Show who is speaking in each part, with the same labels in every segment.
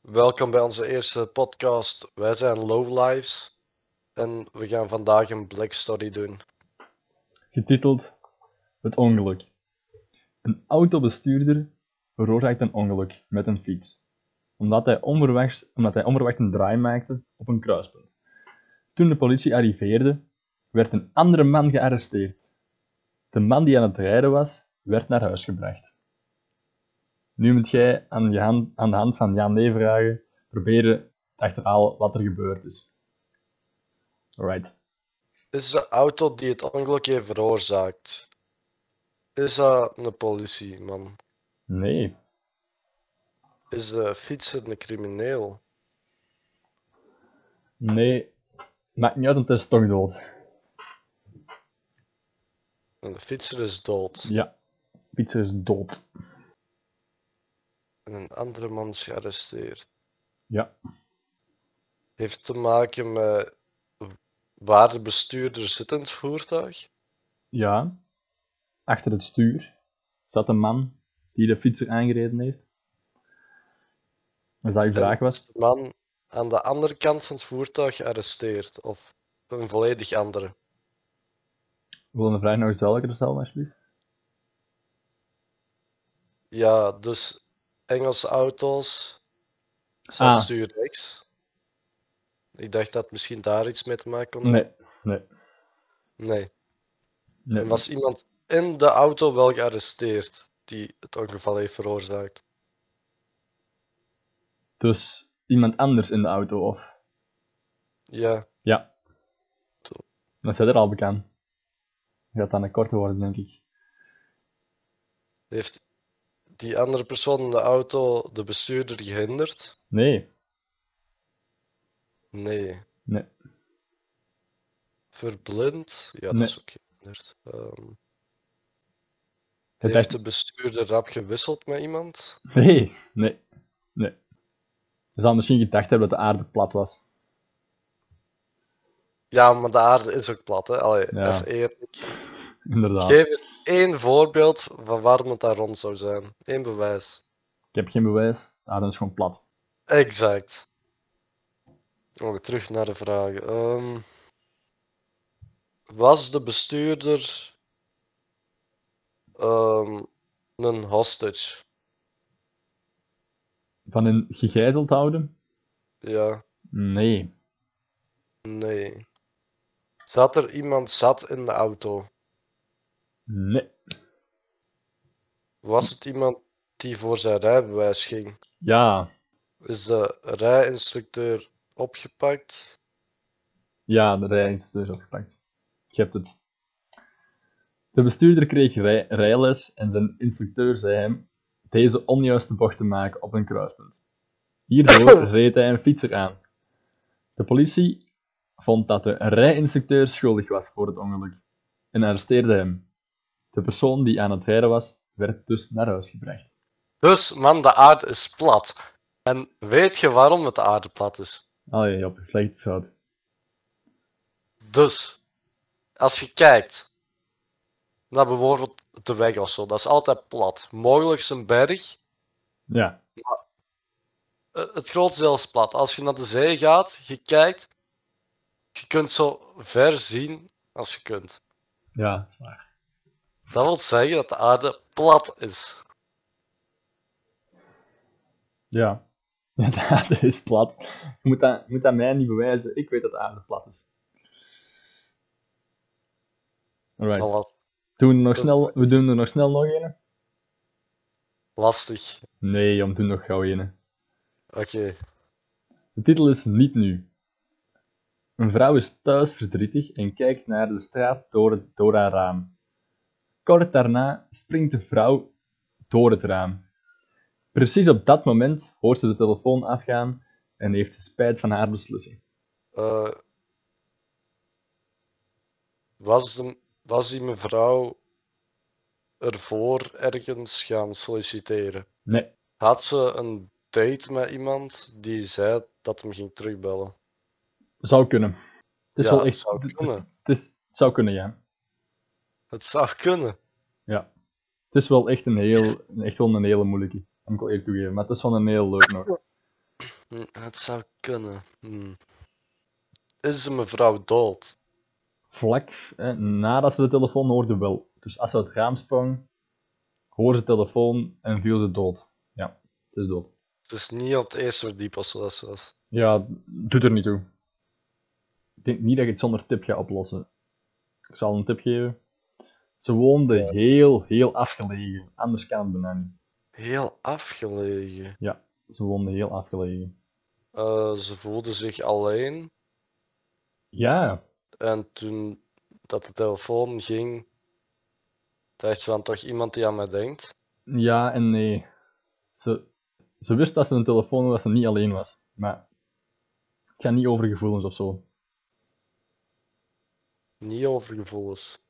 Speaker 1: Welkom bij onze eerste podcast. Wij zijn Lowlives en we gaan vandaag een Black Story doen.
Speaker 2: getiteld Het ongeluk. Een autobestuurder veroorzaakt een ongeluk met een fiets, omdat hij, onverwachts, omdat hij onverwacht een draai maakte op een kruispunt. Toen de politie arriveerde, werd een andere man gearresteerd. De man die aan het rijden was, werd naar huis gebracht. Nu moet jij aan, je hand, aan de hand van ja-nee vragen proberen te achterhalen wat er gebeurd is. Alright.
Speaker 1: Is de auto die het ongeluk heeft veroorzaakt? Is dat een politieman?
Speaker 2: Nee,
Speaker 1: Is de fietser een crimineel?
Speaker 2: Nee, maakt niet uit, want het is toch dood.
Speaker 1: En de fietser is dood.
Speaker 2: Ja, Pizza is dood.
Speaker 1: En een andere man is gearresteerd.
Speaker 2: Ja,
Speaker 1: Heeft te maken met waar de bestuurder zit in het voertuig?
Speaker 2: ja. Achter het stuur zat een man die de fietser aangereden heeft. Als dat je vraag was,
Speaker 1: De man aan de andere kant van het voertuig gearresteerd. Of een volledig andere.
Speaker 2: wil je de vraag nog eens duidelijker stellen, alsjeblieft?
Speaker 1: Ja, dus Engelse auto's staan
Speaker 2: Ah.
Speaker 1: stuur rechts. Ik dacht dat misschien daar iets mee te maken kon hebben.
Speaker 2: Nee, nee,
Speaker 1: Nee.
Speaker 2: nee.
Speaker 1: En was iemand in de auto wel gearresteerd die het ongeval heeft veroorzaakt?
Speaker 2: Dus iemand anders in de auto, of?
Speaker 1: Ja,
Speaker 2: Ja.
Speaker 1: Zo.
Speaker 2: Dat zit er al bekend. Dat gaat dan een korte worden, denk ik.
Speaker 1: heeft die andere persoon in de auto de bestuurder gehinderd?
Speaker 2: Nee,
Speaker 1: Nee.
Speaker 2: nee.
Speaker 1: Verblind? Ja,
Speaker 2: Nee.
Speaker 1: dat is ook gehinderd. Ehm,
Speaker 2: Het
Speaker 1: heeft
Speaker 2: echt-
Speaker 1: de bestuurder rap gewisseld met iemand?
Speaker 2: Nee, nee, nee. Ze zou misschien gedacht hebben dat de aarde plat was.
Speaker 1: Ja, maar de aarde is ook plat, hè? Allee,
Speaker 2: Ja.
Speaker 1: even eerlijk.
Speaker 2: Inderdaad.
Speaker 1: Geef eens één voorbeeld van waarom het daar rond zou zijn. Eén bewijs.
Speaker 2: Ik heb geen bewijs. De aarde is gewoon plat.
Speaker 1: Exact. Oké, terug naar de vragen. Ehm, was de bestuurder ehm, een hostage?
Speaker 2: Van een gegijzeld houden?
Speaker 1: Ja,
Speaker 2: Nee.
Speaker 1: nee. Zat er iemand zat in de auto?
Speaker 2: Nee.
Speaker 1: Was het iemand die voor zijn rijbewijs ging?
Speaker 2: Ja.
Speaker 1: Is de rijinstructeur opgepakt?
Speaker 2: Ja, de rij is dus opgepakt. Je hebt het. De bestuurder kreeg rij- rijles en zijn instructeur zei hem deze onjuiste bocht te maken op een kruispunt. Hierdoor reed hij een fietser aan. De politie vond dat de rijinstructeur schuldig was voor het ongeluk en arresteerde hem. De persoon die aan het rijden was, werd dus naar huis gebracht.
Speaker 1: Dus, man, de aarde is plat. En weet je waarom het de aarde plat is?
Speaker 2: Allee, op slecht zout.
Speaker 1: Dus, als je kijkt naar bijvoorbeeld de weg of zo, dat is altijd plat. Mogelijk is een berg,
Speaker 2: Ja,
Speaker 1: eh, het grootste deel is plat. Als je naar de zee gaat, je kijkt, je kunt zo ver zien als je kunt.
Speaker 2: ja, dat is waar.
Speaker 1: Dat wil zeggen dat de aarde plat is.
Speaker 2: Ja. Ja, de aarde is plat. Je moet dat, je moet dat mij niet bewijzen. Ik weet dat de aarde plat is. Alright.
Speaker 1: Oh. Dat was
Speaker 2: Doen we, nog snel, we doen er nog snel nog een?
Speaker 1: lastig.
Speaker 2: Nee, om doen nog gauw een.
Speaker 1: Oké,
Speaker 2: De titel is Niet Nu. Een vrouw is thuis verdrietig en kijkt naar de straat door, het, door haar raam. Kort daarna springt de vrouw door het raam. Precies op dat moment hoort ze de telefoon afgaan en heeft ze spijt van haar beslissing.
Speaker 1: eh, was, de, was die mevrouw ervoor ergens gaan solliciteren?
Speaker 2: Nee,
Speaker 1: Had ze een date met iemand die zei dat hem ging terugbellen?
Speaker 2: zou kunnen. Het is
Speaker 1: ja,
Speaker 2: wel
Speaker 1: het
Speaker 2: echt-
Speaker 1: zou kunnen.
Speaker 2: Het, is, het zou kunnen, ja.
Speaker 1: Het zou kunnen.
Speaker 2: ja. Het is wel echt een heel, echt wel een hele moeilijke. Dat moet ik wel eerlijk toegeven, maar het is wel een heel leuk nog.
Speaker 1: Hm, Het zou kunnen. Hm. Is een mevrouw dood?
Speaker 2: Vlak eh, nadat ze de telefoon hoorde wel. Dus als ze uit het raam sprong, hoorde ze de telefoon en viel ze dood. Ja, het is dood.
Speaker 1: Het is niet op het eerste verdiep of zo dat ze was.
Speaker 2: Ja, doet er niet toe. Ik denk niet dat ik het zonder tip ga oplossen. Ik zal een tip geven. Ze woonde heel, heel afgelegen. Anders kan het bijna niet.
Speaker 1: Heel afgelegen.
Speaker 2: Ze woonde heel afgelegen.
Speaker 1: Eh, ze voelde zich alleen.
Speaker 2: Ja,
Speaker 1: En toen dat de telefoon ging, dacht ze dan toch iemand die aan mij denkt.
Speaker 2: ja en nee. Ze, ze wist dat ze een telefoon had, dat ze niet alleen was. Maar het gaat niet over gevoelens of zo.
Speaker 1: Niet over gevoelens.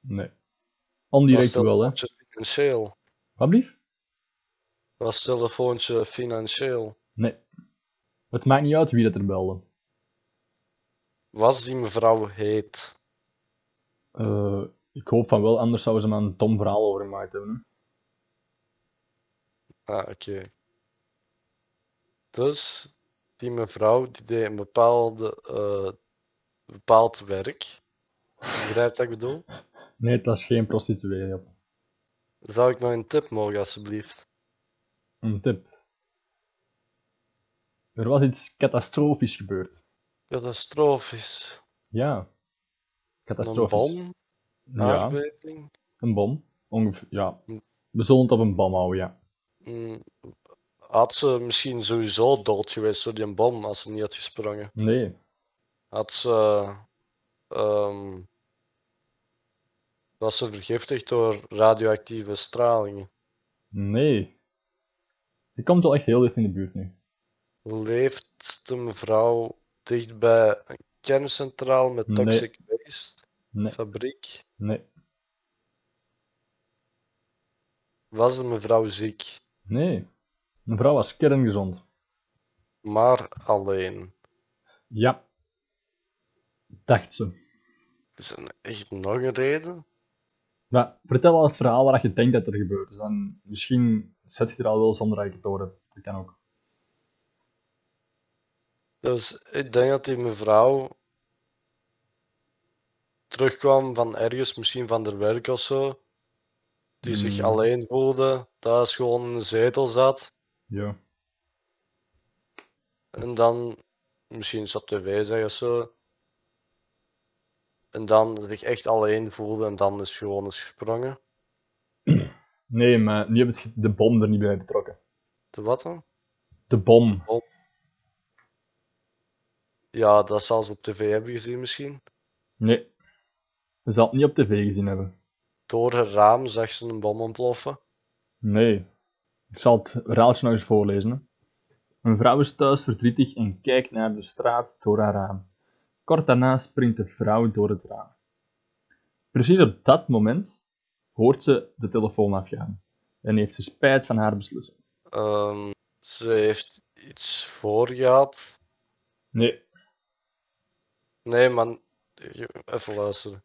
Speaker 2: Nee.
Speaker 1: Was
Speaker 2: Ondirect
Speaker 1: dat-
Speaker 2: wel, hè.
Speaker 1: Financieel.
Speaker 2: Wat blieft?
Speaker 1: Was het telefoontje financieel?
Speaker 2: Nee. Het maakt niet uit wie dat er belde.
Speaker 1: Was die mevrouw heet?
Speaker 2: Eh, ik hoop van wel, anders zouden ze maar een dom verhaal over gemaakt hebben. hè.
Speaker 1: Ah, oké. Dus die mevrouw die deed een bepaalde, eh, bepaald werk. Als je begrijpt wat ik bedoel?
Speaker 2: Nee, het was geen prostituee. Job.
Speaker 1: Zou ik nog een tip mogen, alsjeblieft?
Speaker 2: Een tip. Er was iets catastrofisch gebeurd.
Speaker 1: Catastrofisch.
Speaker 2: Ja.
Speaker 1: Een
Speaker 2: Catastrofisch.
Speaker 1: bom?
Speaker 2: Ja,
Speaker 1: Aardbeving? Hm.
Speaker 2: een bom. Ongeveer, ja. We zullen het op een bom houden, ja.
Speaker 1: Mm, Had ze misschien sowieso dood geweest door die bom als ze niet had gesprongen?
Speaker 2: Nee.
Speaker 1: Had ze. ehm, was ze vergiftigd door radioactieve stralingen?
Speaker 2: Nee. Je komt wel echt heel dicht in de buurt nu.
Speaker 1: Leeft de mevrouw dicht bij een kerncentraal met
Speaker 2: Nee.
Speaker 1: toxic waste?
Speaker 2: Nee.
Speaker 1: Fabriek?
Speaker 2: Nee.
Speaker 1: Was de mevrouw ziek,
Speaker 2: Nee. Een vrouw was kerngezond.
Speaker 1: maar alleen?
Speaker 2: Ja. Dacht ze.
Speaker 1: Is er echt nog een reden?
Speaker 2: Maar vertel al het verhaal waar je denkt dat er gebeurt. Dus dan misschien zet je er al wel zonder dat je het door hebt. Dat kan ook.
Speaker 1: Dus ik denk dat die mevrouw terugkwam van ergens, misschien van haar werk of zo. Die zich
Speaker 2: Hmm.
Speaker 1: alleen voelde, thuis gewoon in een zetel zat.
Speaker 2: Ja.
Speaker 1: En dan misschien iets op tv zeggen of zo. En dan zich echt alleen voelde en dan is gewoon eens gesprongen.
Speaker 2: Nee, maar nu heb je de bom er niet bij betrokken.
Speaker 1: De wat dan?
Speaker 2: De bom.
Speaker 1: Ja, dat zal ze op tv hebben gezien misschien.
Speaker 2: Nee. Ze zal het niet op tv gezien hebben.
Speaker 1: Door haar raam zag ze een bom ontploffen.
Speaker 2: Nee. Ik zal het verhaaltje nog eens voorlezen. hè. Een vrouw is thuis verdrietig en kijkt naar de straat door haar raam. Kort daarna springt de vrouw door het raam. Precies op dat moment hoort ze de telefoon afgaan en heeft ze spijt van haar beslissing.
Speaker 1: Ehm, ze heeft iets voorgehad.
Speaker 2: Nee,
Speaker 1: Nee, man. Je- Even luisteren.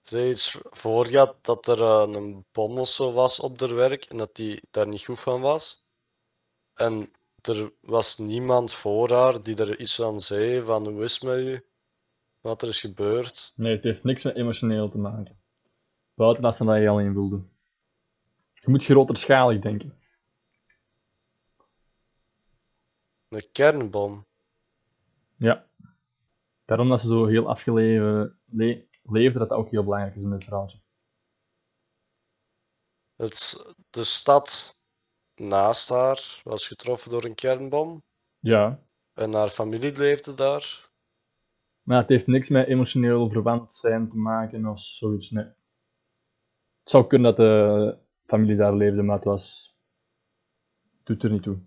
Speaker 1: Ze heeft iets voor gehad dat er eh, een bom of zo was op haar werk en dat die daar niet goed van was. En er was niemand voor haar die er iets aan zei van hoe is het met u? Wat er is gebeurd?
Speaker 2: nee, het heeft niks met emotioneel te maken. Buiten dat ze dat je alleen wilde. Je moet grootschalig denken.
Speaker 1: Een kernbom.
Speaker 2: Ja. Daarom dat ze zo heel afgeleven le- leefde, dat dat ook heel belangrijk is in dit verhaaltje.
Speaker 1: Het, s- de stad naast haar was getroffen door een kernbom
Speaker 2: Ja.
Speaker 1: en haar familie leefde daar.
Speaker 2: Maar het heeft niks met emotioneel verwant zijn te maken of zoiets, nee. Het zou kunnen dat de familie daar leefde, maar het was... Doet er niet toe.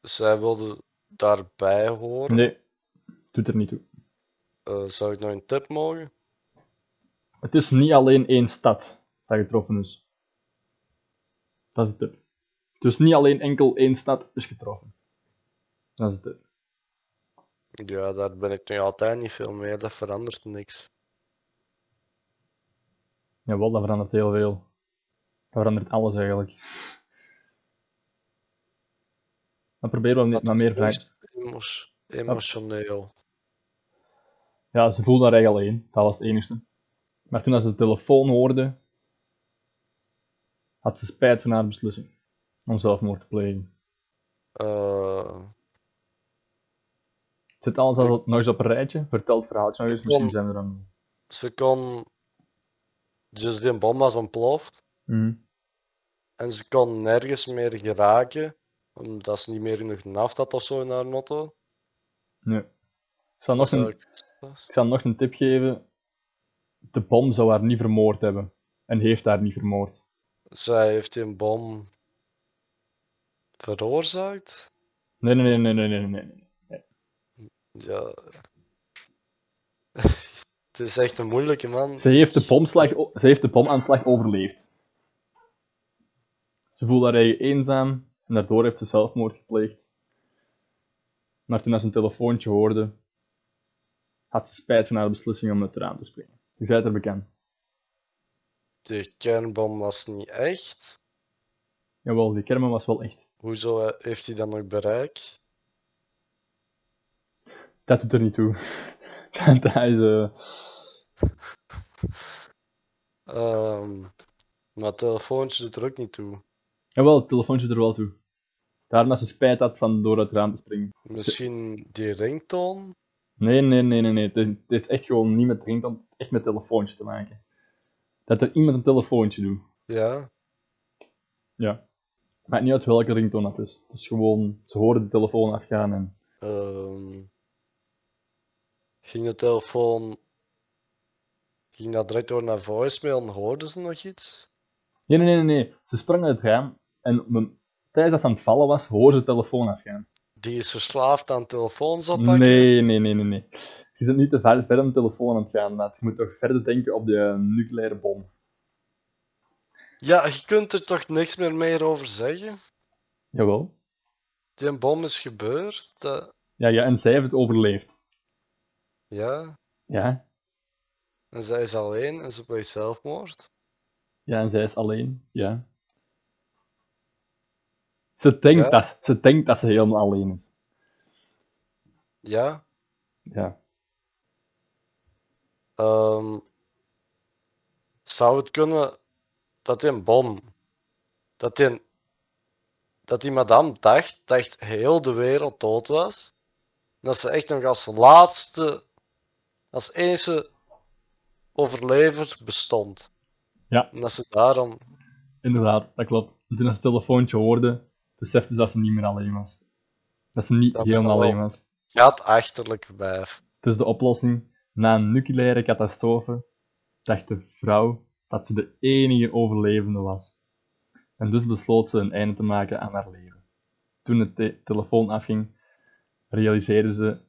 Speaker 1: Zij wilde daarbij horen.
Speaker 2: Nee, doet er niet toe.
Speaker 1: Eh, zou ik nog een tip mogen?
Speaker 2: Het is niet alleen één stad dat getroffen is. Dat is het tip. Dus niet alleen enkel één stad is getroffen. Dat is het tip.
Speaker 1: Ja, daar ben ik nu altijd niet veel mee. Dat verandert niks.
Speaker 2: Jawel, dat verandert heel veel. Dat verandert alles eigenlijk. Dan proberen we
Speaker 1: Dat
Speaker 2: hem maar meer
Speaker 1: is
Speaker 2: vragen.
Speaker 1: emos- emotioneel.
Speaker 2: Ja, ze voelde haar eigen alleen. Dat was het enige. Maar toen als ze de telefoon hoorde, had ze spijt van haar beslissing om zelfmoord te plegen.
Speaker 1: Eh,
Speaker 2: Zit alles al nog eens op een rijtje? Vertel het verhaaltje nog eens, misschien zijn we er aan.
Speaker 1: ze kon. Dus die bom was ontploft.
Speaker 2: Mhm.
Speaker 1: En ze kon nergens meer geraken. Omdat ze niet meer genoeg naft had of zo in haar notto.
Speaker 2: Nee. Ik zal, nog een, ik zal nog een tip geven. De bom zou haar niet vermoord hebben. En heeft haar niet vermoord.
Speaker 1: Zij heeft die bom veroorzaakt.
Speaker 2: Nee, nee, nee, nee, nee, nee. nee.
Speaker 1: Ja. Het is echt een moeilijke man.
Speaker 2: Ze, heeft de bomslag, o- ze heeft de bomaanslag overleefd. Ze voelde haar eigen eenzaam. En daardoor heeft ze zelfmoord gepleegd. Maar toen ze een telefoontje hoorde, had ze spijt van haar beslissing om uit het raam te springen. Je zei het er bekend.
Speaker 1: De kernbom was niet echt.
Speaker 2: Jawel, die kermen was wel echt.
Speaker 1: Hoezo eh, heeft hij dan nog bereik?
Speaker 2: Dat doet er niet toe. dat is... eh,
Speaker 1: Ehm, maar het telefoontje doet er ook niet toe.
Speaker 2: Jawel, het telefoontje er wel toe. Daarom dat ze spijt had van door het raam te springen.
Speaker 1: Misschien die ringtoon?
Speaker 2: Nee, nee, nee, nee, nee. Het is- Het heeft echt gewoon niet met ringtoon, echt met telefoontje te maken. Dat er iemand een telefoontje doet.
Speaker 1: Ja.
Speaker 2: Ja. Maakt niet uit welke ringtoon dat is. Het is gewoon, ze horen de telefoon afgaan en...
Speaker 1: ehm, ging de telefoon. Ging dat direct door naar voicemail en hoorden ze nog iets?
Speaker 2: Nee, nee, nee, nee, nee. Ze sprong uit het raam en op een- tijdens dat ze aan het vallen was, hoorde ze de telefoon afgaan.
Speaker 1: Die is verslaafd aan telefoons oppakken?
Speaker 2: Nee, nee, nee, nee, nee. Je zit niet te ver, ver om de telefoon aan het gaan, maat. Je moet toch verder denken op de eh, nucleaire bom.
Speaker 1: Ja, je kunt er toch niks meer meer over zeggen?
Speaker 2: Jawel.
Speaker 1: Die bom is gebeurd. eh,
Speaker 2: Ja, ja, en zij heeft het overleefd.
Speaker 1: ja.
Speaker 2: Ja,
Speaker 1: En zij is alleen en ze pleegt zelfmoord.
Speaker 2: Ja, en zij is alleen. Ja. Ze denkt,
Speaker 1: Ja?
Speaker 2: Dat, ze denkt dat ze helemaal alleen is.
Speaker 1: Ja.
Speaker 2: Ja.
Speaker 1: Ehm, zou het kunnen dat die bom, dat die, dat die madame dacht, dacht heel de wereld dood was, en dat ze echt nog als laatste, als enige overlever bestond.
Speaker 2: Ja.
Speaker 1: En dat ze daarom,
Speaker 2: Inderdaad, dat klopt. En toen ze het telefoontje hoorde, besefte ze dat ze niet meer alleen was. Dat ze niet
Speaker 1: Dat is
Speaker 2: helemaal
Speaker 1: dan wel-
Speaker 2: alleen was.
Speaker 1: gaat achterlijk wijf.
Speaker 2: Dus de oplossing, na een nucleaire catastrofe, dacht de vrouw dat ze de enige overlevende was. En dus besloot ze een einde te maken aan haar leven. Toen de te- telefoon afging, realiseerde ze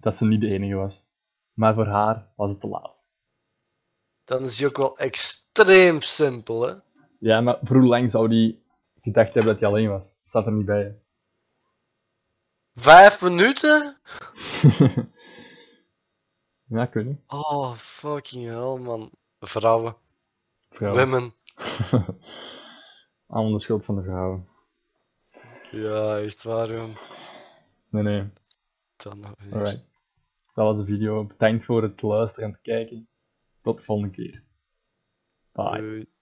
Speaker 2: dat ze niet de enige was. Maar voor haar was het te laat.
Speaker 1: Dan is die ook wel extreem simpel, hè?
Speaker 2: Ja, maar voor hoe lang zou die gedacht hebben dat hij alleen was? Dat staat er niet bij. hè.
Speaker 1: Vijf minuten?
Speaker 2: ja, kunnen.
Speaker 1: Oh, fucking hell, man. Vrouwen,
Speaker 2: Vrouwen.
Speaker 1: women.
Speaker 2: Allemaal de schuld van de vrouwen.
Speaker 1: Ja, echt waar, jong.
Speaker 2: Nee, nee.
Speaker 1: Dan nog weer.
Speaker 2: Alright. Dat was de video. Bedankt voor het luisteren en het kijken. Tot de volgende keer. Bye.
Speaker 1: Doei.